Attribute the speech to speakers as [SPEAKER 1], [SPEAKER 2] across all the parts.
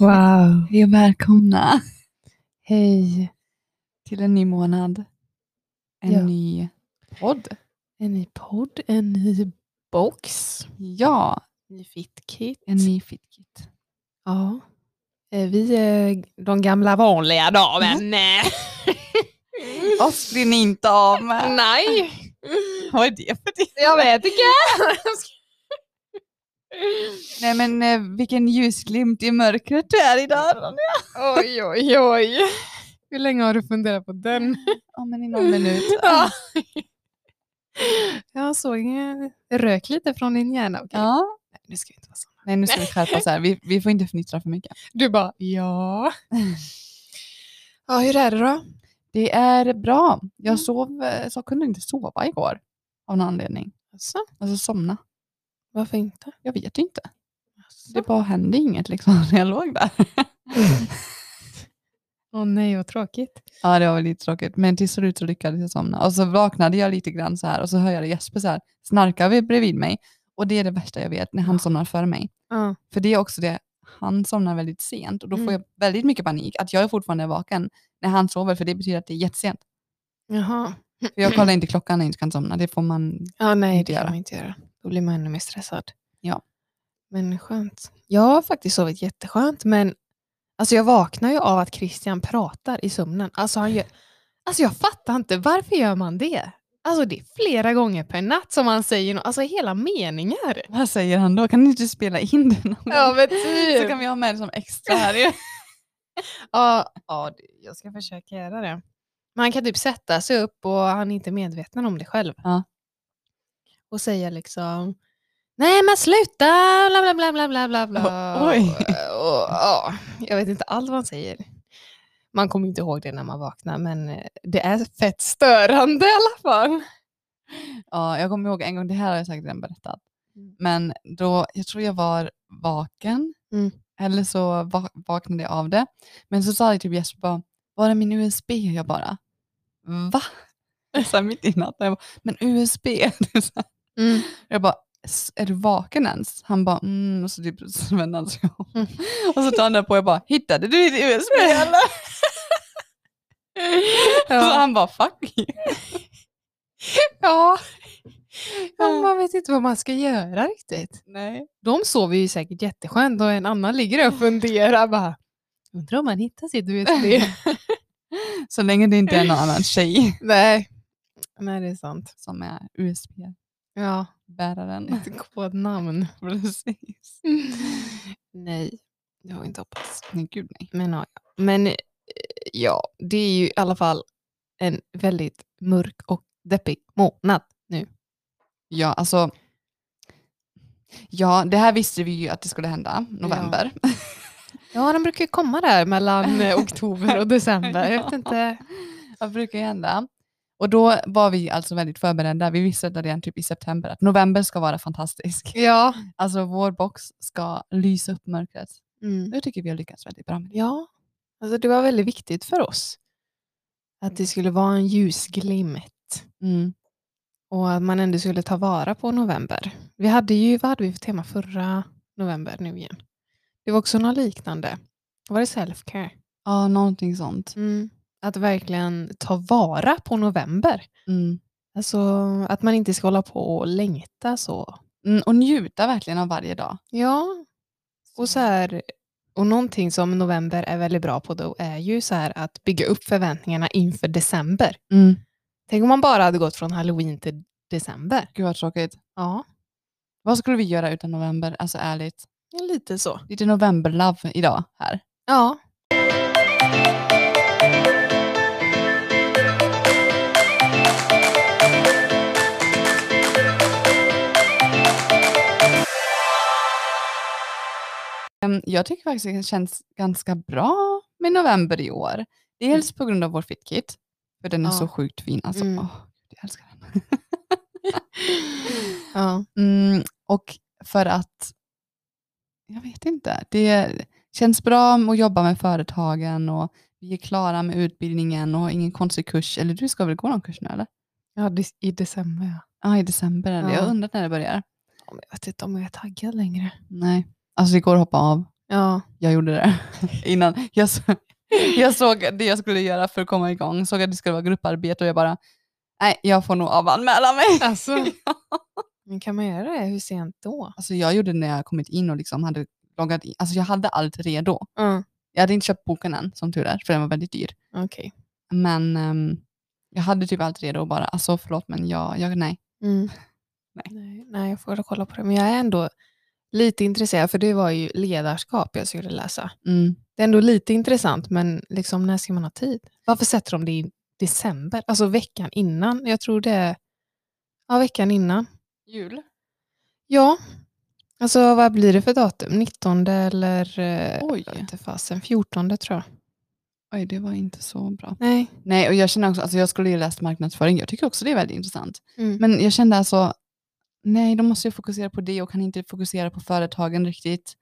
[SPEAKER 1] Wow.
[SPEAKER 2] Vi är välkomna
[SPEAKER 1] Hej.
[SPEAKER 2] till en ny månad. En
[SPEAKER 1] Ja.
[SPEAKER 2] ny podd.
[SPEAKER 1] En ny podd, en ny box,
[SPEAKER 2] Ja,
[SPEAKER 1] ny FitKit.
[SPEAKER 2] en ny fitkit.
[SPEAKER 1] Ja. Eh, Vi är de gamla vanliga då, men... eh,
[SPEAKER 2] Oss blir ni inte av med.
[SPEAKER 1] Nej,
[SPEAKER 2] Vad är det för det?
[SPEAKER 1] jag vet inte.
[SPEAKER 2] Nej men eh, vilken ljusglimt i mörkret du är idag Ronja.
[SPEAKER 1] oj, oj, oj. Hur länge har du funderat på den?
[SPEAKER 2] Ja men i någon minut.
[SPEAKER 1] Ja. Jag såg eh, rök lite från din hjärna. Okej.
[SPEAKER 2] Ja.
[SPEAKER 1] Nu ska vi inte vara så.
[SPEAKER 2] Nej nu ska vi skärpa oss här. Vi, vi får inte fnittra för mycket.
[SPEAKER 1] Du bara, ja. Ja, hur är det då?
[SPEAKER 2] Det är bra. Jag
[SPEAKER 1] Mm.
[SPEAKER 2] sov, eh, så kunde inte sova igår av någon anledning.
[SPEAKER 1] Alltså,
[SPEAKER 2] Alltså somna.
[SPEAKER 1] varför inte?
[SPEAKER 2] Jag vet inte. Det bara hände inget liksom när jag låg där.
[SPEAKER 1] Åh nej, vad tråkigt.
[SPEAKER 2] Ja, det var väl lite tråkigt. Men till slut så lyckades jag somna. Och så vaknade jag lite grann så här och så hör jag Jesper så här snarka vid- bredvid mig. Och det är det värsta jag vet, när han somnar före mig.
[SPEAKER 1] Ja.
[SPEAKER 2] För det är också det, han somnar väldigt sent och då får
[SPEAKER 1] Mm.
[SPEAKER 2] jag väldigt mycket panik att jag är fortfarande vaken när han sover, för det betyder att det är jättesent.
[SPEAKER 1] Jaha.
[SPEAKER 2] För
[SPEAKER 1] Mm.
[SPEAKER 2] jag kollar inte klockan när jag inte kan somna, det får man...
[SPEAKER 1] Ja, nej,
[SPEAKER 2] Inte
[SPEAKER 1] det får
[SPEAKER 2] göra.
[SPEAKER 1] man inte göra. Då blir man ännu mer stressad.
[SPEAKER 2] Ja.
[SPEAKER 1] Men skönt. Jag har faktiskt sovit jätteskönt, men alltså jag vaknar ju av att Christian pratar i sömnen. Alltså, han gör... alltså jag fattar inte, varför gör man det? Alltså det är flera gånger per natt som han säger no- alltså hela meningar.
[SPEAKER 2] Vad säger han då? Kan ni inte spela in den? någon gång?
[SPEAKER 1] men typ.
[SPEAKER 2] Så kan vi ha med det som extra här. i-
[SPEAKER 1] Ja, ja, det- jag ska försöka göra det. Men han kan typ sätta sig upp och han är inte medveten om det själv.
[SPEAKER 2] Ja.
[SPEAKER 1] Och säga liksom Nej men sluta! Bla bla bla bla bla bla bla.
[SPEAKER 2] Oj.
[SPEAKER 1] Och, och, ja, jag vet inte allt vad han säger. Man kommer inte ihåg det när man vaknar men eh, det är fett störande i alla fall.
[SPEAKER 2] Ja, jag kommer ihåg en gång, det här har jag säkert redan berättat.
[SPEAKER 1] Mm.
[SPEAKER 2] Men då, jag tror jag var vaken.
[SPEAKER 1] Mm.
[SPEAKER 2] Eller så va- vaknade jag av det. Men så sa jag typ Jesper bara, var är min USB? Jag bara, va? Så här mitt i natten. Jag bara, men USB? Det är så här.
[SPEAKER 1] Mm.
[SPEAKER 2] jag bara, "S- är du vaken ens? Han bara, mm. Och så typ så vände han sig om.
[SPEAKER 1] Mm.
[SPEAKER 2] Och så tar han det på och jag bara, hittade du ditt USB eller? Så
[SPEAKER 1] Ja.
[SPEAKER 2] han bara, fuck you.
[SPEAKER 1] Ja. ja, man vet inte vad man ska göra riktigt.
[SPEAKER 2] Nej.
[SPEAKER 1] De sover ju säkert jätteskönt och en annan ligger där och funderar. Bara, Undrar om han hittar sitt USB.
[SPEAKER 2] Så länge det inte är någon annan tjej
[SPEAKER 1] Nej. Nej, det är sant.
[SPEAKER 2] som är USB-bäraren.
[SPEAKER 1] Ja, ett kodnamn.
[SPEAKER 2] Precis.
[SPEAKER 1] Nej, det har jag inte hoppats.
[SPEAKER 2] Nej, gud nej.
[SPEAKER 1] Men, ja, ja. Men eh, ja, det är ju i alla fall en väldigt mörk och deppig månad nu.
[SPEAKER 2] Ja, alltså. Ja, det här visste vi ju att det skulle hända, november.
[SPEAKER 1] Ja, den brukar ju komma där mellan eh, oktober och december. Jag vet
[SPEAKER 2] Ja.
[SPEAKER 1] inte.
[SPEAKER 2] Vad brukar ju hända? Och då var vi alltså väldigt förberedda. Vi visste det redan typ i september att november ska vara fantastisk.
[SPEAKER 1] Ja.
[SPEAKER 2] Alltså vår box ska lysa upp mörkret.
[SPEAKER 1] Mm.
[SPEAKER 2] Nu tycker vi har lyckats väldigt bra med det.
[SPEAKER 1] Ja, alltså det var väldigt viktigt för oss. Att det skulle vara en ljusglimt
[SPEAKER 2] Mm.
[SPEAKER 1] och att man ändå skulle ta vara på november. Vi hade ju, vad hade vi för tema förra november nu igen? Det var också något liknande. Var det self-care?
[SPEAKER 2] Ja, någonting sånt.
[SPEAKER 1] Mm. Att verkligen ta vara på november.
[SPEAKER 2] Mm.
[SPEAKER 1] Alltså att man inte ska hålla på och längta så.
[SPEAKER 2] Mm, och njuta verkligen av varje dag.
[SPEAKER 1] Ja, och så här, och någonting som november är väldigt bra på då är ju så här att bygga upp förväntningarna inför december.
[SPEAKER 2] Mm.
[SPEAKER 1] Tänk om man bara hade gått från halloween till december.
[SPEAKER 2] Gud vad tråkigt.
[SPEAKER 1] Ja,
[SPEAKER 2] Vad skulle vi göra utan november? Alltså ärligt.
[SPEAKER 1] lite så.
[SPEAKER 2] Lite novemberlove idag här.
[SPEAKER 1] Ja.
[SPEAKER 2] Ehm, Jag tycker faktiskt att det känns ganska bra med november i år. Dels på grund av vår fitkit, för den är
[SPEAKER 1] Mm. Ja.
[SPEAKER 2] så sjukt fin. Alltså.
[SPEAKER 1] Mm.
[SPEAKER 2] Åh, jag älskar den.
[SPEAKER 1] ja.
[SPEAKER 2] Mm, och för att, jag vet inte, det känns bra att jobba med företagen och vi är klara med utbildningen och har ingen konstig kurs. Eller du ska väl gå någon kurs nu eller?
[SPEAKER 1] ja, i december ja.
[SPEAKER 2] Ja, i december. är det. Jag
[SPEAKER 1] Ja.
[SPEAKER 2] har undrat när det börjar.
[SPEAKER 1] Ja, men Jag vet inte om jag är taggad längre.
[SPEAKER 2] Nej. Alltså det går att hoppa av.
[SPEAKER 1] Ja,
[SPEAKER 2] Jag gjorde det innan. Jag, så, jag såg det jag skulle göra för att komma igång, såg att det skulle vara grupparbete och jag bara, nej jag får nog avanmäla mig.
[SPEAKER 1] alltså. Men kan man göra det? Hur sent då?
[SPEAKER 2] Alltså jag gjorde det när jag kommit in och liksom hade loggat in. Alltså jag hade allt redo.
[SPEAKER 1] Mm.
[SPEAKER 2] Jag hade inte köpt boken än, som tur är, för den var väldigt dyr.
[SPEAKER 1] Okej.
[SPEAKER 2] Men ehm, jag hade typ allt redo och bara, alltså förlåt men jag, jag nej.
[SPEAKER 1] Mm.
[SPEAKER 2] Nej.
[SPEAKER 1] Nej, nej, jag får kolla på det. Men jag är ändå lite intresserad, för det var ju ledarskap jag skulle läsa.
[SPEAKER 2] Mm.
[SPEAKER 1] Det är ändå lite intressant, men liksom, när ska man ha tid? Varför sätter de det i december? Alltså veckan innan? Jag tror det är... Ja, veckan innan.
[SPEAKER 2] Jul?
[SPEAKER 1] Ja. Alltså vad blir det för datum? 19 eller... eh,
[SPEAKER 2] Oj.
[SPEAKER 1] jag vet inte fasen, 14 tror jag.
[SPEAKER 2] Oj, det var inte så bra.
[SPEAKER 1] Nej.
[SPEAKER 2] Nej, och jag känner också, alltså jag skulle ju läst marknadsföring, jag tycker också det är väldigt intressant.
[SPEAKER 1] Mm.
[SPEAKER 2] Men jag kände alltså, nej de måste ju fokusera på det och kan inte fokusera på företagen riktigt.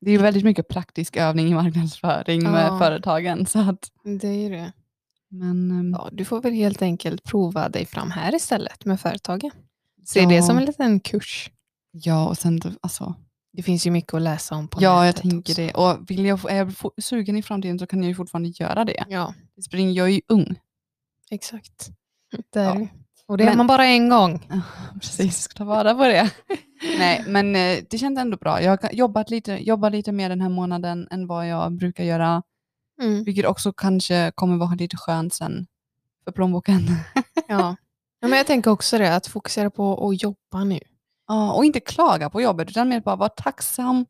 [SPEAKER 2] Det är ju väldigt mycket praktisk övning i marknadsföring
[SPEAKER 1] Ja.
[SPEAKER 2] med företagen. Så att,
[SPEAKER 1] det är ju det.
[SPEAKER 2] men, ehm,
[SPEAKER 1] Ja, du får väl helt enkelt prova dig fram här istället med företagen. Se det
[SPEAKER 2] Ja.
[SPEAKER 1] som en liten kurs.
[SPEAKER 2] ja, och sen då- alltså,
[SPEAKER 1] Det finns ju mycket att läsa om på
[SPEAKER 2] Ja, jag
[SPEAKER 1] nätet
[SPEAKER 2] tänker
[SPEAKER 1] också.
[SPEAKER 2] det. Och vill jag, få- är jag få- sugen i framtiden så kan jag ju fortfarande göra det.
[SPEAKER 1] Ja,
[SPEAKER 2] Det springer, jag är ju ung.
[SPEAKER 1] exakt. Där.
[SPEAKER 2] Ja.
[SPEAKER 1] är du. Och det är
[SPEAKER 2] Men-
[SPEAKER 1] man bara en gång.
[SPEAKER 2] Precis, ska ta vara på det. Nej, men eh, det kändes ändå bra. Jag har jobbat lite, jobbat lite mer den här månaden än vad jag brukar göra.
[SPEAKER 1] Mm.
[SPEAKER 2] Vilket också kanske kommer vara lite skönt sen för plånboken.
[SPEAKER 1] Ja. ja, men jag tänker också det, att fokusera på att jobba nu.
[SPEAKER 2] Ja, och inte klaga på jobbet, utan mer bara vara tacksam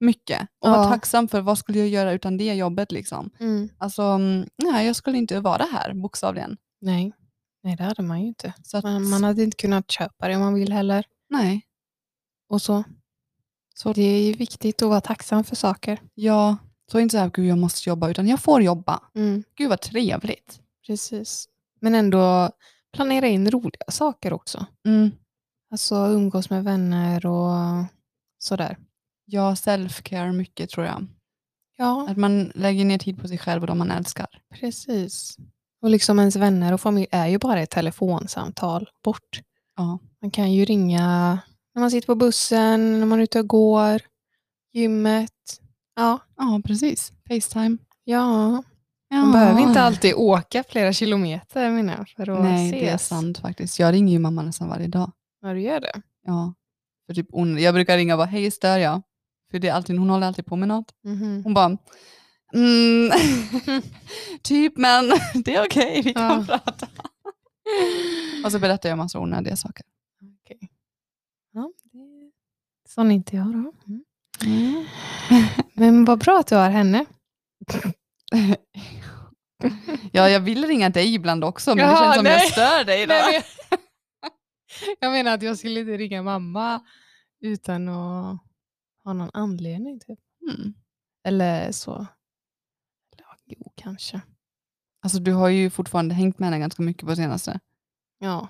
[SPEAKER 2] mycket. Och vara
[SPEAKER 1] Ja.
[SPEAKER 2] tacksam för vad skulle jag göra utan det jobbet liksom. Alltså, mm, nej, jag skulle inte vara här bokstavligen.
[SPEAKER 1] Nej. Nej, det hade man ju inte.
[SPEAKER 2] Så att,
[SPEAKER 1] Man, man hade inte kunnat köpa det om man vill heller.
[SPEAKER 2] nej.
[SPEAKER 1] Och så.
[SPEAKER 2] Så-
[SPEAKER 1] Det är ju viktigt att vara tacksam för saker.
[SPEAKER 2] Ja, så inte så här, gud jag måste jobba, utan jag får jobba.
[SPEAKER 1] Mm,
[SPEAKER 2] Gud vad trevligt.
[SPEAKER 1] precis. Men ändå planera in roliga saker också.
[SPEAKER 2] Mm.
[SPEAKER 1] Alltså umgås med vänner och sådär.
[SPEAKER 2] Ja, self-care mycket tror jag.
[SPEAKER 1] Ja,
[SPEAKER 2] Att man lägger ner tid på sig själv och de man älskar.
[SPEAKER 1] precis. Och liksom ens vänner och familj är ju bara ett telefonsamtal bort.
[SPEAKER 2] Ja.
[SPEAKER 1] Man kan ju ringa när man sitter på bussen, när man är ute och går, gymmet. Ja,
[SPEAKER 2] Ja, precis. Facetime.
[SPEAKER 1] ja. Man
[SPEAKER 2] Ja.
[SPEAKER 1] behöver inte alltid åka flera kilometer menar jag, för att
[SPEAKER 2] Nej,
[SPEAKER 1] ses.
[SPEAKER 2] det är sant faktiskt. Jag ringer ju mamma nästan varje dag.
[SPEAKER 1] När du gör det.
[SPEAKER 2] Ja. För typ hon, jag brukar ringa och bara, hej stör jag? För det är alltid, hon håller alltid på med något.
[SPEAKER 1] Mhm.
[SPEAKER 2] Hon bara, mm, typ men det är okej, vi kan
[SPEAKER 1] Ja.
[SPEAKER 2] prata. Och så berättar jag massa onödiga saker.
[SPEAKER 1] Okej. Ja, det... Sån är inte jag då. Mm. Men vad bra att du har henne.
[SPEAKER 2] Ja, jag vill ringa dig ibland också, men det
[SPEAKER 1] Jaha,
[SPEAKER 2] känns som
[SPEAKER 1] nej.
[SPEAKER 2] jag stör dig då.
[SPEAKER 1] Nej, men- jag menar att jag skulle inte ringa mamma utan att ha någon anledning. Typ.
[SPEAKER 2] Mm.
[SPEAKER 1] Eller så. Eller, ja, Jo, kanske.
[SPEAKER 2] Alltså, du har ju fortfarande hängt med henne ganska mycket på senaste.
[SPEAKER 1] Ja,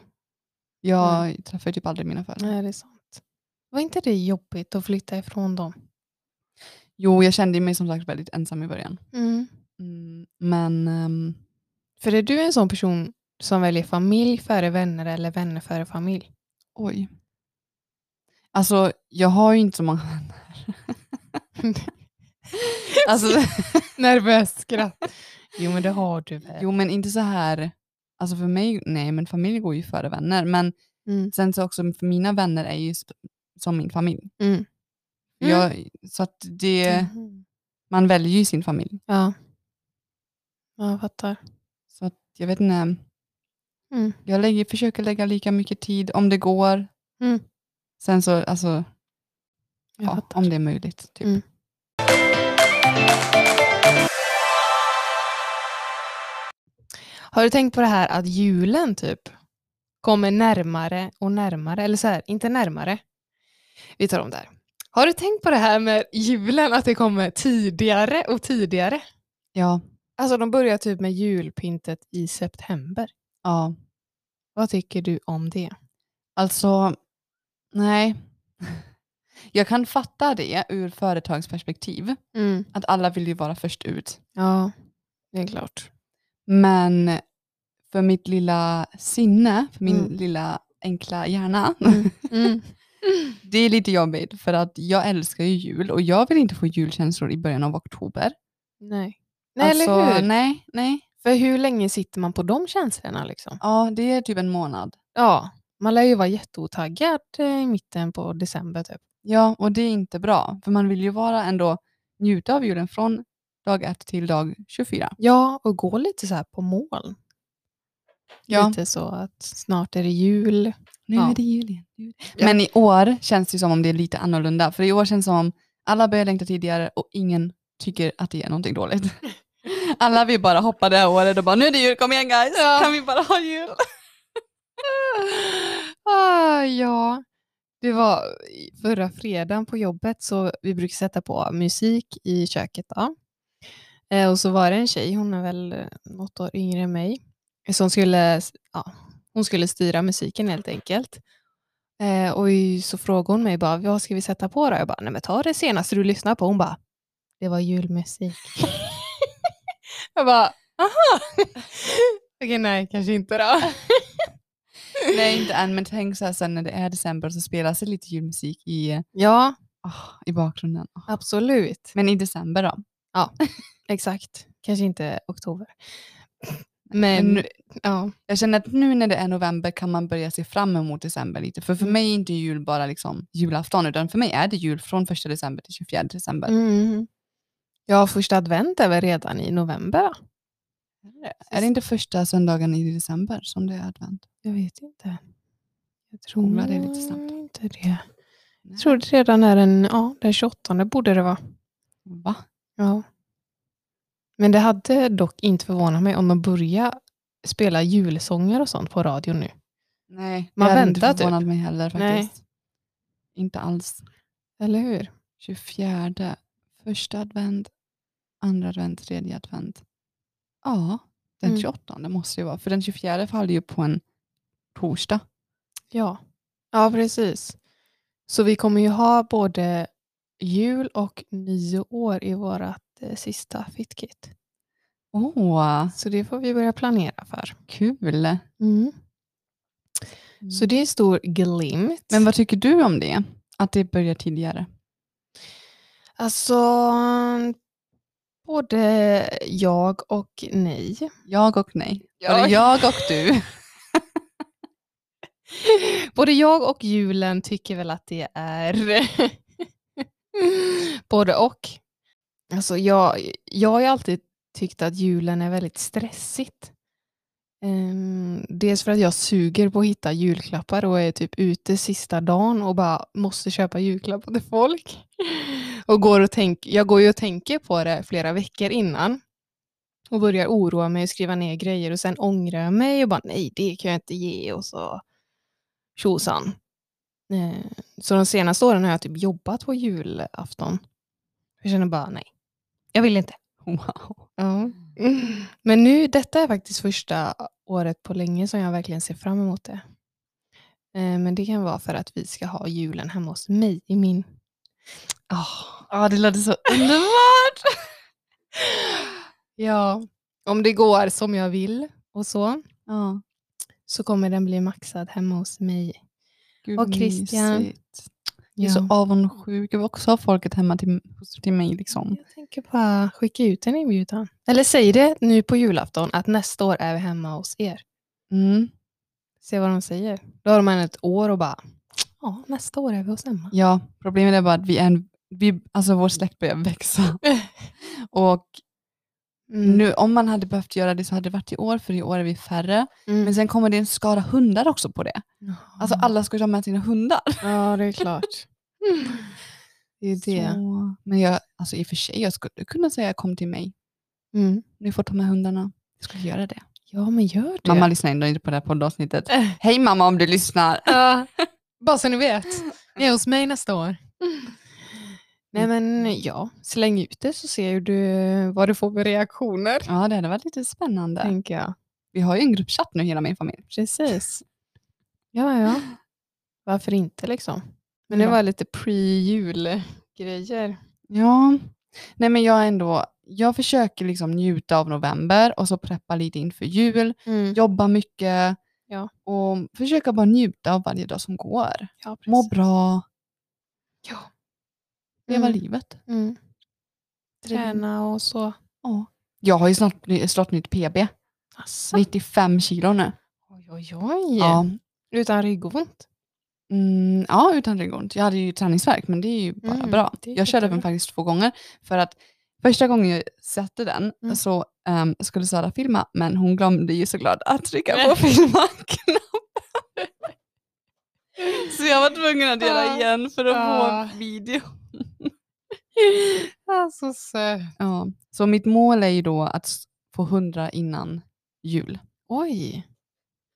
[SPEAKER 2] Jag träffar ju typ aldrig mina föräldrar.
[SPEAKER 1] Mm. nej, det är sant. Var inte det jobbigt att flytta ifrån dem?
[SPEAKER 2] Jo, jag kände mig som sagt väldigt ensam i början. Mm, men ehm,
[SPEAKER 1] För är du en sån person som väljer familj före vänner eller vänner före familj?
[SPEAKER 2] oj. Alltså, jag har ju inte så många vänner. alltså,
[SPEAKER 1] Nervöst skratt. Jo, men det har du väl?
[SPEAKER 2] jo, men inte så här. Alltså för mig, nej, men familj går ju före vänner. Men
[SPEAKER 1] Mm.
[SPEAKER 2] sen så också, för mina vänner är ju sp- som min familj.
[SPEAKER 1] Mm.
[SPEAKER 2] Jag, så att det,
[SPEAKER 1] Mhm.
[SPEAKER 2] man väljer ju sin familj.
[SPEAKER 1] Ja. ja, jag fattar.
[SPEAKER 2] Så att jag vet inte.
[SPEAKER 1] Mm.
[SPEAKER 2] Jag lägger, försöker lägga lika mycket tid om det går.
[SPEAKER 1] Mm.
[SPEAKER 2] Sen så, alltså,
[SPEAKER 1] Jag
[SPEAKER 2] ja,
[SPEAKER 1] fattar.
[SPEAKER 2] om det är möjligt. Typ.
[SPEAKER 1] Mm. Har du tänkt på det här att julen typ kommer närmare och närmare? Eller så här, inte närmare. Vi tar om det här. Har du tänkt på det här med julen, att det kommer tidigare och tidigare?
[SPEAKER 2] Ja,
[SPEAKER 1] Alltså de börjar typ med julpyntet i september.
[SPEAKER 2] ja.
[SPEAKER 1] Vad tycker du om det?
[SPEAKER 2] Alltså, nej. Jag kan fatta det ur företagsperspektiv. Att alla vill ju vara först ut.
[SPEAKER 1] Ja, det är klart.
[SPEAKER 2] Men för mitt lilla sinne, för min
[SPEAKER 1] Mm.
[SPEAKER 2] lilla enkla hjärna,
[SPEAKER 1] Mm. Mm.
[SPEAKER 2] Det är lite jobbigt för att jag älskar ju jul och jag vill inte få julkänslor i början av oktober.
[SPEAKER 1] Nej. Nej, eller
[SPEAKER 2] Alltså,
[SPEAKER 1] hur?
[SPEAKER 2] Nej, nej.
[SPEAKER 1] För hur länge sitter man på de känslorna? Liksom?
[SPEAKER 2] Ja, det är typ en månad.
[SPEAKER 1] Ja, man lär ju vara jätteotaggad eh, i mitten på december. Typ.
[SPEAKER 2] Ja, och det är inte bra. För man vill ju vara ändå njuta av julen från dag 1 till dag 24.
[SPEAKER 1] Ja, och gå lite så här på moln.
[SPEAKER 2] Ja.
[SPEAKER 1] Lite så att snart är det jul.
[SPEAKER 2] Nu
[SPEAKER 1] Ja.
[SPEAKER 2] är det jul igen. nu är det-
[SPEAKER 1] Ja.
[SPEAKER 2] Men i år känns det som om det är lite annorlunda. För i år känns det som om alla börjar längta tidigare och ingen tycker att det är någonting dåligt.
[SPEAKER 1] Mm.
[SPEAKER 2] Alla vill bara hoppa det här året och bara nu är det jul, kom igen guys,
[SPEAKER 1] Ja.
[SPEAKER 2] kan vi bara ha jul?
[SPEAKER 1] Ah, ja, det var i- förra fredagen på jobbet så vi brukar sätta på musik i köket. Då. Eh, och så var det en tjej, hon är väl eh, något år yngre än mig, som skulle, s- ja, hon skulle styra musiken helt enkelt. Eh, och i- så frågade hon mig bara, vad ska vi sätta på då? Jag bara, nej men ta det senaste du lyssnar på. Hon bara, det var julmusik. jag bara, aha! Okej, nej, kanske inte då.
[SPEAKER 2] Nej inte än, men tänk så här sen när det är december så spelas det lite julmusik i,
[SPEAKER 1] Ja,
[SPEAKER 2] ah, i bakgrunden. Ah.
[SPEAKER 1] absolut.
[SPEAKER 2] Men i december då?
[SPEAKER 1] Exakt. Kanske inte oktober. Men,
[SPEAKER 2] Men nu-
[SPEAKER 1] ja.
[SPEAKER 2] Jag känner att nu när det är november kan man börja se fram emot december lite. För för
[SPEAKER 1] Mm.
[SPEAKER 2] mig är inte jul bara liksom julafton, utan för mig är det jul från 1 december till 24 december.
[SPEAKER 1] Mm. Ja, första advent är väl redan i november?
[SPEAKER 2] Är det inte första söndagen i december som det är advent?
[SPEAKER 1] Jag vet inte. Jag
[SPEAKER 2] Kolla
[SPEAKER 1] tror
[SPEAKER 2] det lite snabbt.
[SPEAKER 1] inte det.
[SPEAKER 2] Nej.
[SPEAKER 1] Jag tror det redan är den, ja, den 28 borde det vara.
[SPEAKER 2] Va?
[SPEAKER 1] Ja. Men det hade dock inte förvånat mig om de börjar spela julsånger och sånt på radion nu.
[SPEAKER 2] Nej,
[SPEAKER 1] Man
[SPEAKER 2] det hade inte
[SPEAKER 1] väntar typ.
[SPEAKER 2] förvånat mig heller
[SPEAKER 1] Nej.
[SPEAKER 2] faktiskt. Inte alls.
[SPEAKER 1] Eller hur?
[SPEAKER 2] 24, första advent, andra advent, tredje advent. Ja, den
[SPEAKER 1] Mm.
[SPEAKER 2] 28 det måste ju vara. För den 24 faller ju på en torsdag.
[SPEAKER 1] Ja. ja, precis. Så vi kommer ju ha både jul och nyår i vårt eh, sista FitKit.
[SPEAKER 2] Åh,
[SPEAKER 1] Så det får vi börja planera för.
[SPEAKER 2] kul. Mm.
[SPEAKER 1] Så det är stor glimt.
[SPEAKER 2] Men vad tycker du om det? Att det börjar tidigare?
[SPEAKER 1] Alltså, både jag och ni.
[SPEAKER 2] Jag och nej.
[SPEAKER 1] Ja.
[SPEAKER 2] Både jag och du.
[SPEAKER 1] Både jag och julen tycker väl att det är både och. Alltså jag, jag har ju alltid tyckt att julen är väldigt stressigt. Ehm, dels för att jag suger på att hitta julklappar och är typ ute sista dagen och bara måste köpa julklappar till folk. Och går och tänk, jag går ju och tänker på det flera veckor innan och börjar oroa mig och skriva ner grejer och sen ångrar jag mig och bara nej, det kan jag inte ge och så tjosan. Eh, Så de senaste åren har jag typ jobbat på julafton. Jag känner bara nej, jag vill inte.
[SPEAKER 2] Wow.
[SPEAKER 1] Ja. Men nu, detta är faktiskt första året på länge som jag verkligen ser fram emot det. Eh, Men det kan vara för att vi ska ha julen hemma hos mig i min... Ah.
[SPEAKER 2] Ja, det låter så underbart.
[SPEAKER 1] Ja, om det går som jag vill och så,
[SPEAKER 2] Ja,
[SPEAKER 1] så kommer den bli maxad hemma hos mig.
[SPEAKER 2] gud
[SPEAKER 1] Och Christian.
[SPEAKER 2] mysigt. Jag är så avundsjuk. Jag vill också ha folket hemma till, hos- till mig. Liksom.
[SPEAKER 1] Jag tänker bara skicka ut en inbjudan. Eller säg det nu på julafton att nästa år är vi hemma hos er.
[SPEAKER 2] Mm.
[SPEAKER 1] Se vad de säger. Då har de än ett år och bara, ja nästa år är vi hos Emma.
[SPEAKER 2] Ja, problemet är bara att vi är en, vi, alltså vår släkt börjar växa. Och
[SPEAKER 1] Mm.
[SPEAKER 2] nu, om man hade behövt göra det så hade det varit i år, för i år är vi färre.
[SPEAKER 1] Mm.
[SPEAKER 2] Men sen kommer det en skara hundar också på det. Alltså alla ska ju ha med sina hundar.
[SPEAKER 1] Ja, det är klart. Det är det.
[SPEAKER 2] Så, men jag, alltså i och för sig, jag skulle kunna säga kom till mig.
[SPEAKER 1] Mm.
[SPEAKER 2] Ni får ta med hundarna. Jag skulle göra det.
[SPEAKER 1] Ja, men gör det.
[SPEAKER 2] Mamma lyssnar ändå inte på det här poddavsnittet.
[SPEAKER 1] Äh.
[SPEAKER 2] Hej mamma om du lyssnar.
[SPEAKER 1] Ja, bara så ni vet. Ni är hos mig nästa år. Nej men ja, släng ut det så ser du vad du får för reaktioner.
[SPEAKER 2] Ja, det hade varit lite spännande.
[SPEAKER 1] Tänker jag.
[SPEAKER 2] Vi har ju en gruppchatt nu, hela min familj.
[SPEAKER 1] Precis. Ja, ja. Varför inte liksom? Men det
[SPEAKER 2] Ja.
[SPEAKER 1] var lite pre-julgrejer.
[SPEAKER 2] Ja. Nej men jag är ändå, jag försöker liksom njuta av november och så preppa lite inför jul.
[SPEAKER 1] Mm.
[SPEAKER 2] Jobba mycket,
[SPEAKER 1] Ja.
[SPEAKER 2] Och försöka bara njuta av varje dag som går.
[SPEAKER 1] Ja, precis.
[SPEAKER 2] Må bra,
[SPEAKER 1] Ja.
[SPEAKER 2] leva
[SPEAKER 1] Mm.
[SPEAKER 2] livet.
[SPEAKER 1] Mm. Träna och så.
[SPEAKER 2] Ja. Jag har ju snart bli- slått nytt PB.
[SPEAKER 1] Asså.
[SPEAKER 2] 95 kilo nu.
[SPEAKER 1] Alltså, Oj, oj, oj.
[SPEAKER 2] Ja.
[SPEAKER 1] Utan ryggont.
[SPEAKER 2] Mm, ja, utan ryggont. Jag hade ju träningsvärk, men det är ju bara
[SPEAKER 1] Mm,
[SPEAKER 2] bra.
[SPEAKER 1] det är
[SPEAKER 2] Jag körde
[SPEAKER 1] jättebra.
[SPEAKER 2] den faktiskt två gånger. För att första gången jag satte den
[SPEAKER 1] Mm.
[SPEAKER 2] så ehm, skulle Sara filma, men hon glömde ju såklart att trycka
[SPEAKER 1] Nej.
[SPEAKER 2] på filma-knappen. så jag var tvungen att göra
[SPEAKER 1] Ah,
[SPEAKER 2] igen för att
[SPEAKER 1] ah.
[SPEAKER 2] få video.
[SPEAKER 1] Alltså söt.
[SPEAKER 2] Ja. Så mitt mål är ju då att s- få 100 innan jul.
[SPEAKER 1] Oj.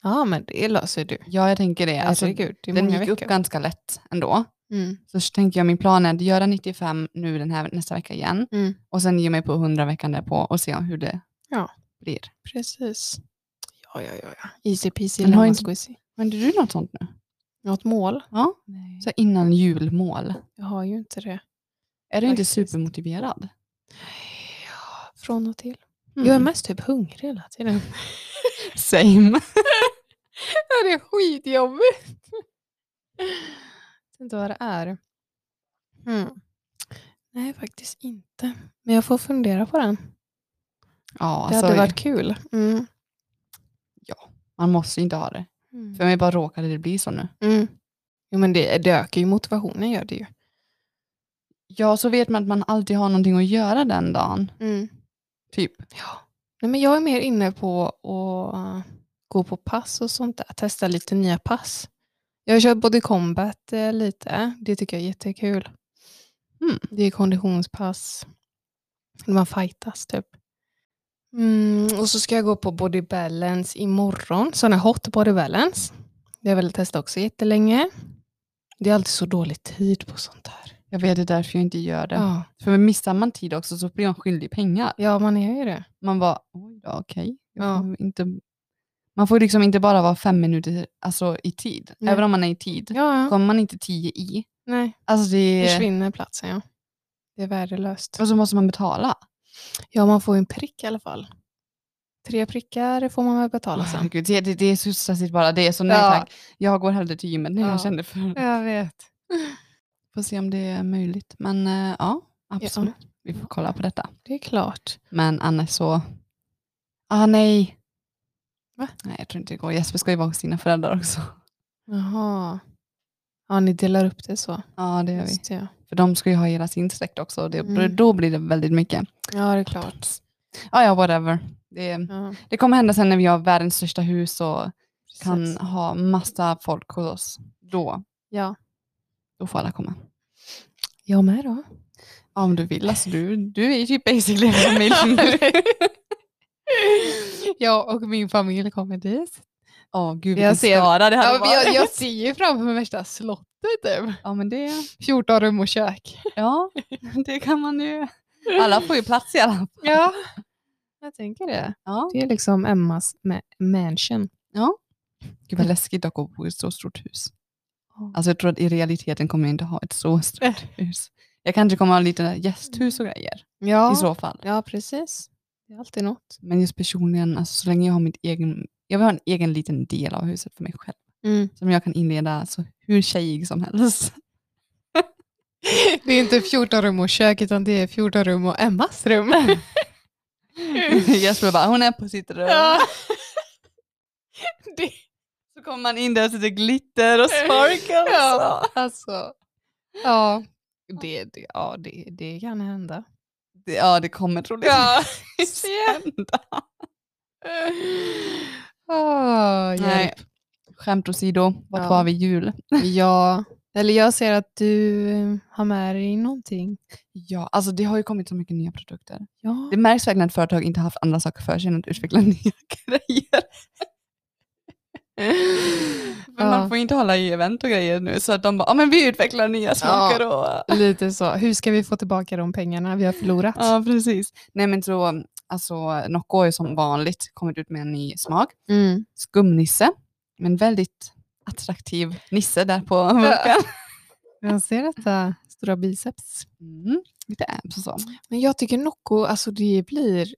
[SPEAKER 1] Ja, men det löser du.
[SPEAKER 2] Ja, jag tänker det. Alltså,
[SPEAKER 1] Herregud, det är
[SPEAKER 2] den
[SPEAKER 1] många
[SPEAKER 2] gick upp
[SPEAKER 1] veckor.
[SPEAKER 2] ganska lätt ändå.
[SPEAKER 1] Mm.
[SPEAKER 2] Så s- tänker jag min plan är att göra 95 nu den här nästa vecka igen
[SPEAKER 1] Mm.
[SPEAKER 2] och sen ge mig på 100 veckan därpå och se hur det
[SPEAKER 1] Ja.
[SPEAKER 2] blir.
[SPEAKER 1] Precis. Ja, ja, ja. ja. Easy peasy
[SPEAKER 2] Men har
[SPEAKER 1] lemon
[SPEAKER 2] inte-
[SPEAKER 1] squeezy.
[SPEAKER 2] Men du något sånt nu?
[SPEAKER 1] Något mål?
[SPEAKER 2] Ja.
[SPEAKER 1] Nej.
[SPEAKER 2] Så innan julmål.
[SPEAKER 1] Jag har ju inte det.
[SPEAKER 2] Är du inte
[SPEAKER 1] Faktiskt.
[SPEAKER 2] supermotiverad?
[SPEAKER 1] Ja, från och till. Jag är mest typ hungrig hela tiden.
[SPEAKER 2] Same.
[SPEAKER 1] det är skitjobbigt. Jag vet inte vad det är. Mm. Nej, faktiskt inte. Men jag får fundera på den.
[SPEAKER 2] Ja,
[SPEAKER 1] Det
[SPEAKER 2] alltså,
[SPEAKER 1] hade varit kul. Mm.
[SPEAKER 2] man måste ju inte ha det.
[SPEAKER 1] Mm.
[SPEAKER 2] För mig bara råkade det bli så nu.
[SPEAKER 1] Mm. Jo, men det, det ökar ju motivationen, gör det ju.
[SPEAKER 2] Ja, så vet man att man alltid har någonting att göra den dagen.
[SPEAKER 1] Mm.
[SPEAKER 2] Typ.
[SPEAKER 1] Ja. Nej, men jag är mer inne på att eh, gå på pass och sånt där. Testa lite nya pass. Jag har kört Body Combat eh, lite. Det tycker jag är jättekul.
[SPEAKER 2] Mm.
[SPEAKER 1] Det är konditionspass. När man fightas typ. Mm, och så ska jag gå på Body Balance imorgon. Sån här hot Body Balance. Det har jag velat testa också jättelänge. Det är alltid så dålig tid på sånt här.
[SPEAKER 2] Jag vet, det är därför jag inte gör det.
[SPEAKER 1] Ja,
[SPEAKER 2] För missar man tid också så blir man skyldig pengar.
[SPEAKER 1] ja man är ju det.
[SPEAKER 2] Man var oj då, okej. Jag
[SPEAKER 1] Ja.
[SPEAKER 2] får inte... Man får liksom inte bara vara fem minuter alltså, i tid.
[SPEAKER 1] Nej.
[SPEAKER 2] Även om man är i tid.
[SPEAKER 1] Ja, ja.
[SPEAKER 2] Kommer man inte tio i,
[SPEAKER 1] Nej,
[SPEAKER 2] alltså det...
[SPEAKER 1] försvinner platsen ja. Det är värdelöst.
[SPEAKER 2] och så måste man betala.
[SPEAKER 1] Ja, man får ju en prick i alla fall. Tre prickar får man väl betala sen.
[SPEAKER 2] Liksom. Gud, det, det, det är så stressigt bara. Det är så nej
[SPEAKER 1] Ja.
[SPEAKER 2] tack. Jag går hellre till gymmet nu.
[SPEAKER 1] Ja.
[SPEAKER 2] Jag kände för.
[SPEAKER 1] Jag vet.
[SPEAKER 2] Får se om det är möjligt. Men eh, ja, absolut. Vi får kolla på detta.
[SPEAKER 1] Det är klart.
[SPEAKER 2] Men annars så... Ah nej.
[SPEAKER 1] Va?
[SPEAKER 2] Nej, jag tror inte det går. Jesper ska ju vara hos sina föräldrar också.
[SPEAKER 1] Jaha. Ja, ni delar upp det så.
[SPEAKER 2] Ja, det gör vi.
[SPEAKER 1] Just det, ja.
[SPEAKER 2] För de ska ju ha hela sin släkt också. Och det,
[SPEAKER 1] Mm.
[SPEAKER 2] Då blir det väldigt mycket.
[SPEAKER 1] ja, det är klart.
[SPEAKER 2] Ja, ja, whatever. Det,
[SPEAKER 1] Ja,
[SPEAKER 2] det kommer hända sen när vi har världens största hus och kan
[SPEAKER 1] precis.
[SPEAKER 2] ha massa folk hos oss. Då,
[SPEAKER 1] Ja.
[SPEAKER 2] då får alla komma.
[SPEAKER 1] Jag med då.
[SPEAKER 2] Ja, om du vill. Alltså, du, du är ju typ basically en familj.
[SPEAKER 1] jag och min familj kommer dit.
[SPEAKER 2] Åh gud,
[SPEAKER 1] Jag
[SPEAKER 2] vilken
[SPEAKER 1] ser-
[SPEAKER 2] skara det hade
[SPEAKER 1] Ja, men
[SPEAKER 2] varit.
[SPEAKER 1] jag, jag ser ju framför mig värsta slottet. Typ.
[SPEAKER 2] Ja, men det,
[SPEAKER 1] 14 rum och kök.
[SPEAKER 2] ja, det kan man ju. Alla får ju plats i alla fall.
[SPEAKER 1] Ja, jag tänker det.
[SPEAKER 2] Ja.
[SPEAKER 1] Det är liksom Emmas ma- mansion.
[SPEAKER 2] Gud vad läskigt dock att bo i ett så stort hus. Alltså jag tror att i realiteten kommer jag inte ha ett så stort hus. Jag kanske kommer ha lite gästhus och grejer
[SPEAKER 1] Ja,
[SPEAKER 2] i så fall.
[SPEAKER 1] ja precis. Det är alltid något.
[SPEAKER 2] Men just personligen, alltså, så länge jag har mitt egen, jag vill ha en egen liten del av huset för mig själv.
[SPEAKER 1] Mm.
[SPEAKER 2] Som jag kan inreda så hur tjejig som helst.
[SPEAKER 1] Det är inte 14 rum och kök utan det är 14 rum och Emmas rum. Mm.
[SPEAKER 2] Jesper bara, hon är på sitt rum.
[SPEAKER 1] Ja. det,
[SPEAKER 2] Så kommer man in där och sitter glitter och sparkles.
[SPEAKER 1] ja, alltså. Ja, det, det, ja det, det kan hända.
[SPEAKER 2] Det, ja, det kommer troligtvis hända.
[SPEAKER 1] Ah,
[SPEAKER 2] Nej.
[SPEAKER 1] hjälp.
[SPEAKER 2] Skämt åsido, vart
[SPEAKER 1] Ja.
[SPEAKER 2] var vi jul?
[SPEAKER 1] Ja, eller jag ser att du eh, har med dig någonting.
[SPEAKER 2] Ja, alltså det har ju kommit så mycket nya produkter.
[SPEAKER 1] Ja,
[SPEAKER 2] Det märks verkligen att företag inte haft andra saker för sig än att utveckla nya grejer. För
[SPEAKER 1] Ja.
[SPEAKER 2] Man får ju inte hålla i event och grejer nu så att de bara, ja men vi utvecklar nya smaker och
[SPEAKER 1] lite så. Hur ska vi få tillbaka de pengarna vi har förlorat?
[SPEAKER 2] Ja, precis. Nej, men så, alltså, Nocco har ju som vanligt kommit ut med en ny smak.
[SPEAKER 1] Mm.
[SPEAKER 2] Skumnisse, men väldigt attraktiv nisse där på munken.
[SPEAKER 1] Jag ser detta stora biceps.
[SPEAKER 2] Mm, lite abs och så.
[SPEAKER 1] Men jag tycker Nocco, alltså det blir...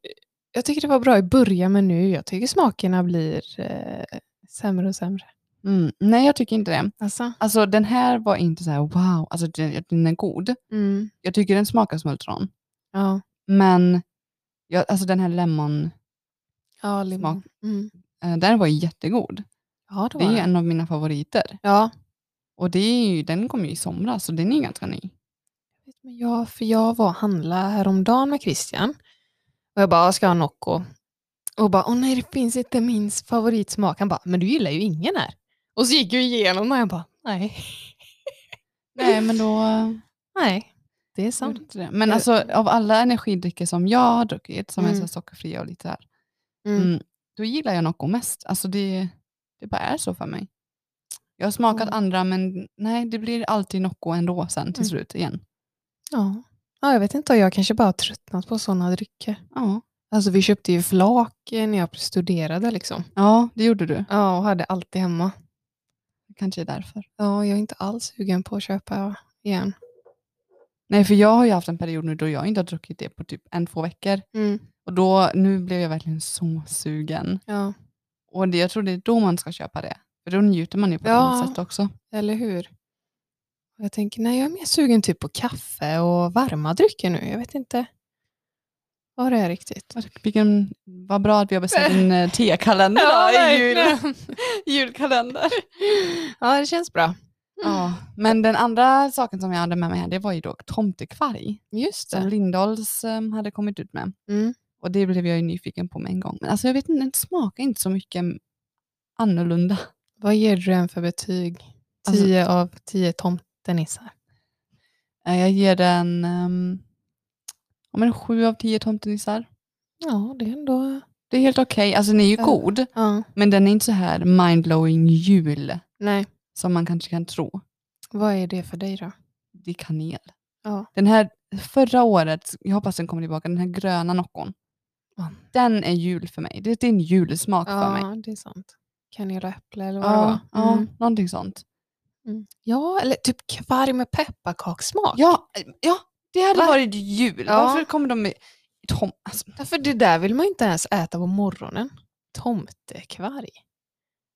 [SPEAKER 1] Jag tycker det var bra i början, men nu jag tycker smakerna blir eh, Sämre och sämre.
[SPEAKER 2] Mm. Nej, jag tycker inte det.
[SPEAKER 1] Alltså?
[SPEAKER 2] Alltså den här var inte så här wow, alltså den, den är god.
[SPEAKER 1] Mm.
[SPEAKER 2] Jag tycker den smakar smultron.
[SPEAKER 1] Ja.
[SPEAKER 2] Men jag, alltså den här lemon,
[SPEAKER 1] Ja, limon. Mm.
[SPEAKER 2] eh, den var ju jättegod.
[SPEAKER 1] Ja, det
[SPEAKER 2] Det
[SPEAKER 1] var
[SPEAKER 2] är ju
[SPEAKER 1] det.
[SPEAKER 2] en av mina favoriter.
[SPEAKER 1] Ja.
[SPEAKER 2] Och det är ju, den kom ju i somras, så den är ju ganska ny.
[SPEAKER 1] Men jag, för jag var och handlade häromdagen med Christian. Och jag bara, ska ha Nocco? Och bara, åh nej det finns inte min favoritsmak. Han bara, men du gillar ju ingen här. Och så gick jag igenom och jag bara, nej.
[SPEAKER 2] Nej, men då...
[SPEAKER 1] Nej, det är
[SPEAKER 2] Jag
[SPEAKER 1] sant.
[SPEAKER 2] vet inte det. Men alltså av alla energidrycker som jag har druckit, som är
[SPEAKER 1] Mm.
[SPEAKER 2] så här sockerfria och lite här,
[SPEAKER 1] Mm.
[SPEAKER 2] mm. då gillar jag Nocco mest. Alltså det, det bara är så för mig. Jag har smakat
[SPEAKER 1] Mm.
[SPEAKER 2] andra, men nej, det blir alltid Nocco ändå sen till
[SPEAKER 1] Mm.
[SPEAKER 2] slut igen.
[SPEAKER 1] Ja. ja, jag vet inte, jag kanske bara har tröttnat på sådana drycker.
[SPEAKER 2] Ja.
[SPEAKER 1] Alltså vi köpte ju flak eh, när jag studerade liksom.
[SPEAKER 2] ja, det gjorde du.
[SPEAKER 1] Ja, och hade alltid hemma.
[SPEAKER 2] Kanske är därför.
[SPEAKER 1] Ja, jag är inte alls sugen på att köpa igen.
[SPEAKER 2] Nej, för jag har ju haft en period nu då jag inte har druckit det på typ en, två veckor.
[SPEAKER 1] Mm,
[SPEAKER 2] Och då, nu blev jag verkligen så sugen.
[SPEAKER 1] Ja,
[SPEAKER 2] Och det, jag tror det är då man ska köpa det. För då njuter man ju på ett
[SPEAKER 1] Ja.
[SPEAKER 2] annat sätt också.
[SPEAKER 1] eller hur? Och Jag tänker, nej jag är mer sugen typ på kaffe och varma drycker nu. Jag vet inte vad det är riktigt.
[SPEAKER 2] Vad- Vilken, vad bra att vi har beställt en eh, tekalender då, i jul. julkalender. Mm.
[SPEAKER 1] ja, det känns bra.
[SPEAKER 2] Ja, men den andra saken som jag hade med mig här, det var ju då tomtekvarg
[SPEAKER 1] Just
[SPEAKER 2] som
[SPEAKER 1] det.
[SPEAKER 2] Lindahls eh, hade kommit ut med.
[SPEAKER 1] Mm.
[SPEAKER 2] Och det blev jag ju nyfiken på med en gång. Men alltså jag vet inte, den smakar inte så mycket annorlunda.
[SPEAKER 1] Vad ger du den för betyg?
[SPEAKER 2] Alltså-
[SPEAKER 1] 10 av 10 tomtenissar.
[SPEAKER 2] Eh, Jag ger den um, ja, men sju av tio tomtenissar.
[SPEAKER 1] Ja, det är ändå...
[SPEAKER 2] Det är helt okej. Alltså den är ju
[SPEAKER 1] Ja.
[SPEAKER 2] god,
[SPEAKER 1] Ja,
[SPEAKER 2] men den är inte så här mindblowing jul
[SPEAKER 1] nej.
[SPEAKER 2] som man kanske kan tro.
[SPEAKER 1] Vad är det för dig då?
[SPEAKER 2] Det är kanel.
[SPEAKER 1] Ja.
[SPEAKER 2] Den här förra året, jag hoppas den kommer tillbaka, den här gröna nockon.
[SPEAKER 1] Ja.
[SPEAKER 2] Den är jul för mig. Det det är en julsmak för mig.
[SPEAKER 1] Ja, det är sant. Kanel och äpple eller vad det var.
[SPEAKER 2] ja,
[SPEAKER 1] Mm.
[SPEAKER 2] någonting sånt.
[SPEAKER 1] Mm. Ja, eller typ kvarg med pepparkakssmak.
[SPEAKER 2] Ja, eh, ja det hade
[SPEAKER 1] Va?
[SPEAKER 2] varit jul.
[SPEAKER 1] Ja.
[SPEAKER 2] Varför kommer de med tom... Alltså,
[SPEAKER 1] Därför det där vill man ju inte ens äta på morgonen. Tomtekvarg.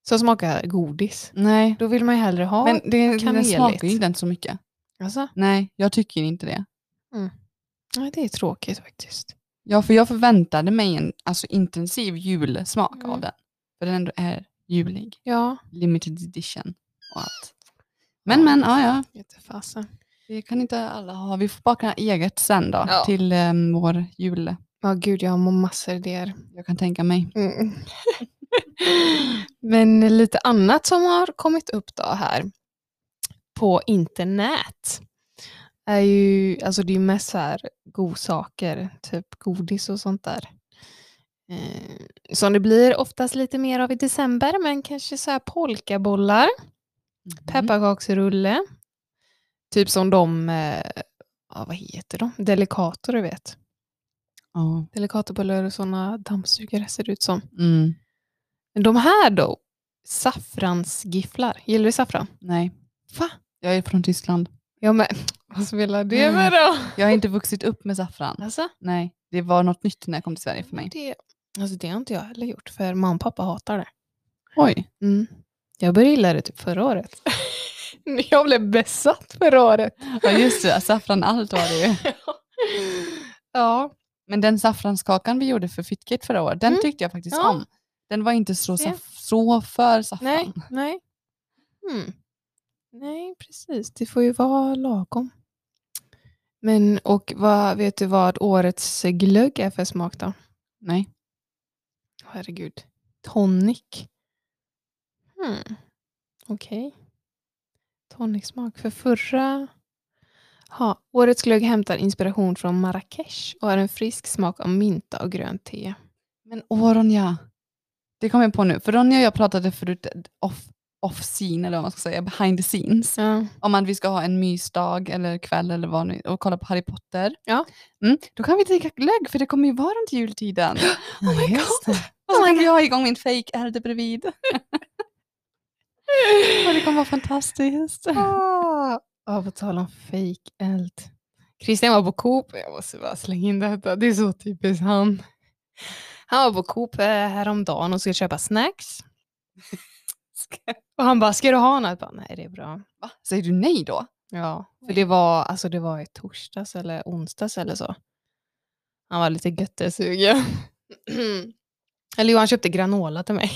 [SPEAKER 1] Som smakar godis.
[SPEAKER 2] nej.
[SPEAKER 1] Då vill man ju hellre ha...
[SPEAKER 2] Men det, den
[SPEAKER 1] kaneligt.
[SPEAKER 2] smakar ju inte ens så mycket.
[SPEAKER 1] alltså,
[SPEAKER 2] Nej, jag tycker inte det.
[SPEAKER 1] nej, det är tråkigt faktiskt.
[SPEAKER 2] Ja, för jag förväntade mig en alltså, intensiv julsmak av
[SPEAKER 1] Mm.
[SPEAKER 2] den. För den ändå är julig.
[SPEAKER 1] Ja,
[SPEAKER 2] Limited edition och allt. Men
[SPEAKER 1] Ja.
[SPEAKER 2] men, ja ja.
[SPEAKER 1] jättefasen.
[SPEAKER 2] Vi kan inte alla ha. Vi får baka eget sen då.
[SPEAKER 1] Ja.
[SPEAKER 2] Till eh, vår jul.
[SPEAKER 1] Ja, gud, jag har massor idéer.
[SPEAKER 2] Jag kan tänka mig.
[SPEAKER 1] Mm. Men lite annat som har kommit upp då här på internet är ju, alltså det är ju mest så här godsaker, typ godis och sånt där. Eh, som det blir oftast lite mer av i december, men kanske så här polkabollar,
[SPEAKER 2] Mm.
[SPEAKER 1] pepparkaksrulle, typ som de, eh, ja, vad heter de, Delicato du vet.
[SPEAKER 2] Ja.
[SPEAKER 1] Delicatobullar och sådana dammsugare ser det ut som.
[SPEAKER 2] Mm.
[SPEAKER 1] Men de här då, saffransgifflar. Gillar du saffran?
[SPEAKER 2] Nej.
[SPEAKER 1] Va?
[SPEAKER 2] Jag är från Tyskland.
[SPEAKER 1] Ja men, vad spelar det med då?
[SPEAKER 2] Jag har inte vuxit upp med saffran.
[SPEAKER 1] Mm. Alltså,
[SPEAKER 2] Nej, det var något nytt när jag kom till Sverige för mig.
[SPEAKER 1] det, alltså det har inte jag heller gjort, för mamma och pappa hatar det.
[SPEAKER 2] Oj.
[SPEAKER 1] Mm. Jag började gilla det typ förra året. jag blev besatt förra året.
[SPEAKER 2] Ja just det, saffran allt var det ju.
[SPEAKER 1] ja.
[SPEAKER 2] Men den saffranskakan vi gjorde för Fittkit förra året, den
[SPEAKER 1] Mm.
[SPEAKER 2] tyckte jag faktiskt
[SPEAKER 1] Ja.
[SPEAKER 2] om. Den var inte så,
[SPEAKER 1] Se.
[SPEAKER 2] saff- så för saffran.
[SPEAKER 1] Nej, nej. Mm. Nej, precis. Det får ju vara lagom. Men och vad, vet du vad årets glögg är för smak då?
[SPEAKER 2] Nej.
[SPEAKER 1] Herregud. Tonic. Hmm. Okej. Tonicsmak. För förra... Ha, årets glögg hämtar inspiration från Marrakesh och har en frisk smak av mynta och grönt te.
[SPEAKER 2] Men åh Ronja, det kom jag på nu. För Ronja och jag pratade förut eh, off, off scene, eller vad man ska säga, behind the scenes.
[SPEAKER 1] Ja.
[SPEAKER 2] Om att vi ska ha en mysdag eller kväll eller vad nu, och kolla på Harry Potter.
[SPEAKER 1] Ja.
[SPEAKER 2] Mm, då kan vi dricka glögg för det kommer ju vara runt jultiden.
[SPEAKER 1] Oh
[SPEAKER 2] my
[SPEAKER 1] god.
[SPEAKER 2] Och så
[SPEAKER 1] Oh my
[SPEAKER 2] kommer jag ha igång min fake ärde bredvid. och det kommer vara fantastiskt.
[SPEAKER 1] Ah, ah, på tal om fake eld. Christian var på Coop, jag måste bara slänga in detta, det är så typiskt han. Han var på Coop eh, häromdagen och skulle köpa snacks.
[SPEAKER 2] Ska-
[SPEAKER 1] Och han bara, ska du ha något? Jag bara, nej det är bra.
[SPEAKER 2] Va? Säger du nej då?
[SPEAKER 1] Ja, för det var, alltså, det var i torsdags eller onsdags eller så. Han var lite göttesugen. eller jo, han köpte granola till mig.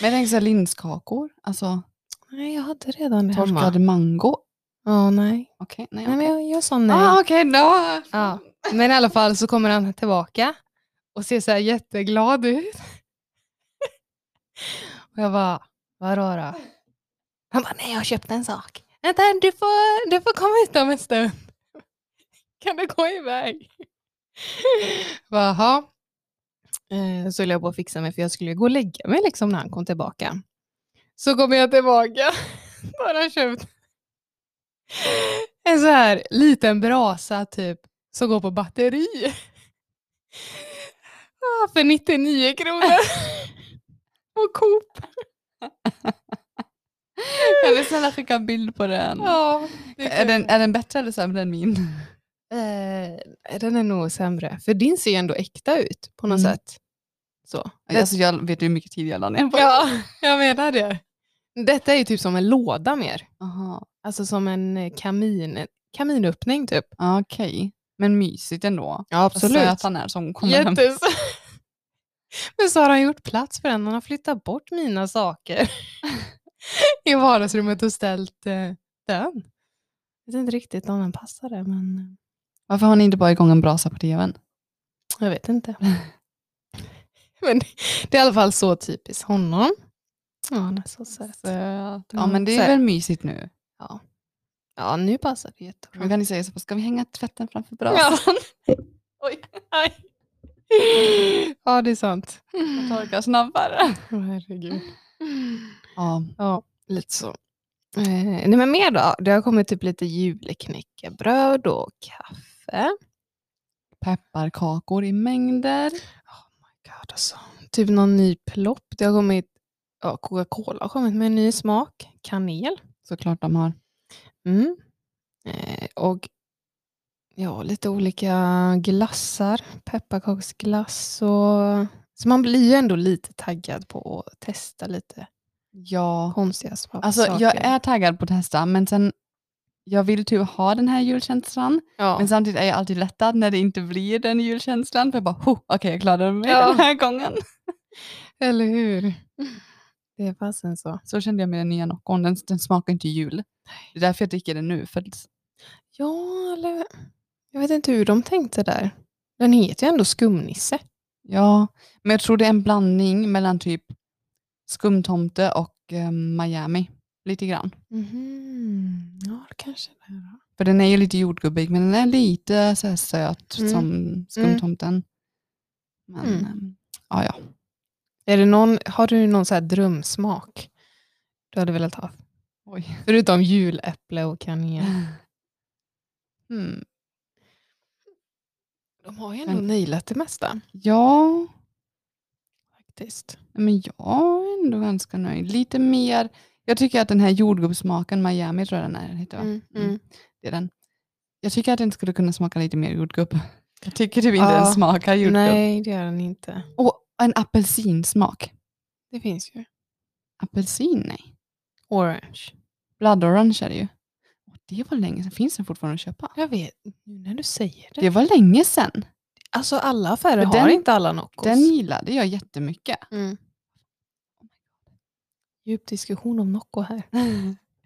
[SPEAKER 2] Men jag tänker såhär linskakor, alltså
[SPEAKER 1] Nej, jag hade redan det hemma.
[SPEAKER 2] torkad mango.
[SPEAKER 1] Ja, nej.
[SPEAKER 2] Okej, nej.
[SPEAKER 1] nej men
[SPEAKER 2] okej.
[SPEAKER 1] jag, jag sa nej.
[SPEAKER 2] Ah, okej, då.
[SPEAKER 1] Ja. Men i alla fall så kommer han tillbaka och ser så här jätteglad ut. Och jag bara, vadå då? Han bara, nej jag köpte en sak. Vänta, du får, du får komma hit om en stund. Kan du gå iväg? Jag bara, Jaha. Eh, Så höll jag på att fixa mig för jag skulle ju gå och lägga mig liksom när han kom tillbaka. Så kommer jag tillbaka. Då har han köpt en så här liten brasa typ som går på batteri. Ah, för 99 kronor. Och Coop.
[SPEAKER 2] Kan du snälla skicka en bild på den?
[SPEAKER 1] Ja, det
[SPEAKER 2] Är den, är den bättre eller sämre än min?
[SPEAKER 1] eh, den är nog sämre. För din ser ju ändå äkta ut på något
[SPEAKER 2] Mm.
[SPEAKER 1] sätt. Så.
[SPEAKER 2] Alltså, jag vet ju hur mycket tid jag la ner på den.
[SPEAKER 1] Ja, jag menar det. Detta är ju typ som en låda mer.
[SPEAKER 2] Aha,
[SPEAKER 1] Alltså som en eh, kamin, en kaminöppning typ.
[SPEAKER 2] Ja, Ah, okej. Men mysigt ändå.
[SPEAKER 1] Ja,
[SPEAKER 2] Vad söt han är som kommer hem.
[SPEAKER 1] Jättes... Men så har han gjort plats för den. Han har flyttat bort mina saker i vardagsrummet och ställt eh, den. Jag vet inte riktigt om den passade, men
[SPEAKER 2] Varför har ni inte bara igång en brasa på tvn?
[SPEAKER 1] eh, jag vet inte. men det är i alla fall så typiskt honom. Ja, han är så söt.
[SPEAKER 2] Ja, men det är väl mysigt nu.
[SPEAKER 1] Ja, nu passar det
[SPEAKER 2] Då
[SPEAKER 1] jättebra.
[SPEAKER 2] kan ni säga så, ska vi hänga tvätten framför brasan?
[SPEAKER 1] Ja. Oj, aj. ja, det är sant.
[SPEAKER 2] och Torka snabbare.
[SPEAKER 1] Åh, herregud.
[SPEAKER 2] Ja,
[SPEAKER 1] Ja, lite så. Eh, nej men mer då? Det har kommit typ lite julknäckebröd och kaffe.
[SPEAKER 2] pepparkakor i mängder.
[SPEAKER 1] God, alltså. Typ någon ny plopp. Det har kommit, ja, Coca-Cola har kommit med en ny smak. Kanel.
[SPEAKER 2] Såklart de har.
[SPEAKER 1] Mm. Eh, och ja, lite olika glassar. Pepparkaksglass och... Så man blir ju ändå lite taggad på att testa lite
[SPEAKER 2] Ja.
[SPEAKER 1] konstiga smak-
[SPEAKER 2] Alltså
[SPEAKER 1] saker.
[SPEAKER 2] jag är taggad på att testa, men sen jag vill typ ha den här julkänslan,
[SPEAKER 1] Ja.
[SPEAKER 2] men samtidigt är jag alltid lättad när det inte blir den julkänslan. För jag bara, "Ho, okej jag klarade mig
[SPEAKER 1] Ja.
[SPEAKER 2] den här gången.
[SPEAKER 1] Eller hur? Det är fasen så.
[SPEAKER 2] Så kände jag med den nya Noccon, den, den smakar inte jul. Det är därför jag dricker den nu, för
[SPEAKER 1] Ja, eller... Jag vet inte hur de tänkte där. Den heter ju ändå skumnisse.
[SPEAKER 2] Ja, men jag tror det är en blandning mellan typ skumtomte och eh, Miami. Lite grann.
[SPEAKER 1] Mhm. Ja, det kanske det är.
[SPEAKER 2] För den är ju lite jordgubbig, men den är lite så här söt
[SPEAKER 1] Mm.
[SPEAKER 2] som skumtomten. Men,
[SPEAKER 1] Mm.
[SPEAKER 2] ehm, ja, ja.
[SPEAKER 1] Är det någon, har du någon så här drömsmak du hade velat ha?
[SPEAKER 2] Oj.
[SPEAKER 1] Förutom juläpple och kanel.
[SPEAKER 2] Mm.
[SPEAKER 1] De har ju
[SPEAKER 2] ändå
[SPEAKER 1] nailat det mesta.
[SPEAKER 2] Ja,
[SPEAKER 1] Faktiskt.
[SPEAKER 2] men jag är ändå ganska nöjd. Lite mer, jag tycker att den här jordgubbssmaken, Miami tror jag den är, heter va?
[SPEAKER 1] Mm,
[SPEAKER 2] Mm.
[SPEAKER 1] mm.
[SPEAKER 2] Det är den. Jag tycker att den skulle kunna smaka lite mer jordgubb. Jag tycker typ inte
[SPEAKER 1] Ja.
[SPEAKER 2] den smakar jordgubb.
[SPEAKER 1] Nej, det gör den inte.
[SPEAKER 2] Och en apelsinsmak.
[SPEAKER 1] Det finns ju.
[SPEAKER 2] Apelsin, nej.
[SPEAKER 1] Orange.
[SPEAKER 2] Blood orange är det ju. Och det var länge sedan. Finns den fortfarande att köpa?
[SPEAKER 1] Jag vet, nu när du säger det.
[SPEAKER 2] Det var länge sedan.
[SPEAKER 1] Alltså alla affärer
[SPEAKER 2] För
[SPEAKER 1] har
[SPEAKER 2] den-
[SPEAKER 1] inte alla Noccos.
[SPEAKER 2] Den gillade jag jättemycket.
[SPEAKER 1] Mm. Djup diskussion om Nocco här.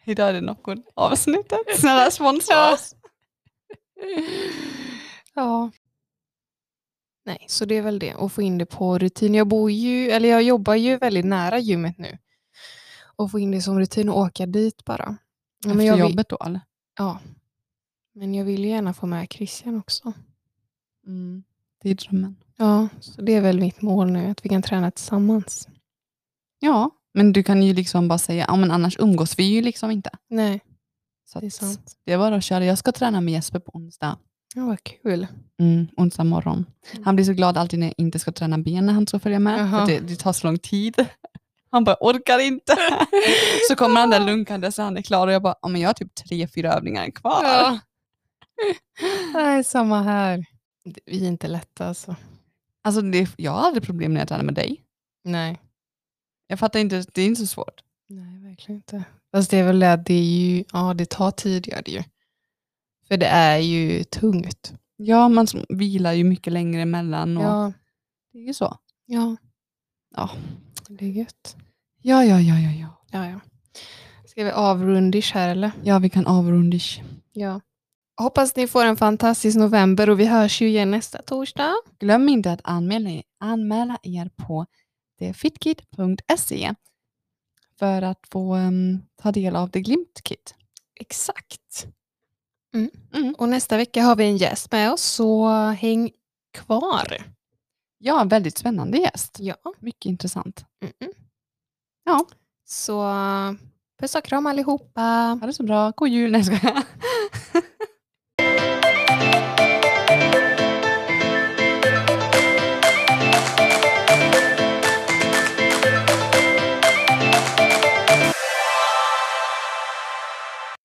[SPEAKER 2] Idag är det något avsnittet. Snälla sponsra oss.
[SPEAKER 1] Ja. Nej, så det är väl det. Och få in det på rutin. Jag, bor ju, eller jag jobbar ju väldigt nära gymmet nu. Och få in det som rutin och åka dit bara.
[SPEAKER 2] Efter
[SPEAKER 1] Men jag, vill,
[SPEAKER 2] jobbet då eller?
[SPEAKER 1] men jag vill ju gärna få med Christian också.
[SPEAKER 2] Mm. Det är drömmen.
[SPEAKER 1] Ja, så det är väl mitt mål nu, att vi kan träna tillsammans.
[SPEAKER 2] Ja, men du kan ju liksom bara säga, ja men annars umgås vi ju liksom inte.
[SPEAKER 1] Nej,
[SPEAKER 2] Så
[SPEAKER 1] det är
[SPEAKER 2] att
[SPEAKER 1] sant.
[SPEAKER 2] det är bara att köra. Jag ska träna med Jesper på onsdag.
[SPEAKER 1] Ja, vad kul.
[SPEAKER 2] Mm, onsdag morgon. Han blir så glad alltid när jag inte ska träna ben när han ska följa med.
[SPEAKER 1] Mm. Jaha.
[SPEAKER 2] För det, det tar så lång tid. Han bara, orkar inte. så kommer han där lunkande så han är klar och jag bara, ja men jag har typ tre, fyra övningar kvar.
[SPEAKER 1] Ja. Nej, samma här. Vi är inte lätta alltså.
[SPEAKER 2] Alltså det, jag har aldrig problem när jag tränar med dig.
[SPEAKER 1] Nej.
[SPEAKER 2] Jag fattar inte, det är inte så svårt.
[SPEAKER 1] Nej, verkligen inte. Fast det är väl det att det, är ju, ja, det tar tid, gör det ju. För det är ju tungt.
[SPEAKER 2] Ja, man s- vilar ju mycket längre emellan. Och
[SPEAKER 1] Ja,
[SPEAKER 2] Det är ju så.
[SPEAKER 1] ja.
[SPEAKER 2] Ja.
[SPEAKER 1] det är gött.
[SPEAKER 2] Ja, ja, ja, ja, ja.
[SPEAKER 1] Ja, ja. Ska vi avrundish här eller?
[SPEAKER 2] Ja, vi kan avrundish.
[SPEAKER 1] Ja. Hoppas ni får en fantastisk november och vi hörs ju igen nästa torsdag.
[SPEAKER 2] Glöm inte att anmäla er, anmäla er på thefitkit.se för att få em, ta del av The Glimt Kit.
[SPEAKER 1] Exakt.
[SPEAKER 2] Mm.
[SPEAKER 1] Och nästa vecka har vi en gäst med oss, så häng kvar.
[SPEAKER 2] Ja, en väldigt spännande gäst.
[SPEAKER 1] Ja.
[SPEAKER 2] Mycket intressant.
[SPEAKER 1] Mm-mm.
[SPEAKER 2] Ja.
[SPEAKER 1] Så puss och kram allihopa.
[SPEAKER 2] Ha det så bra. God jul. Nej, jag skojar.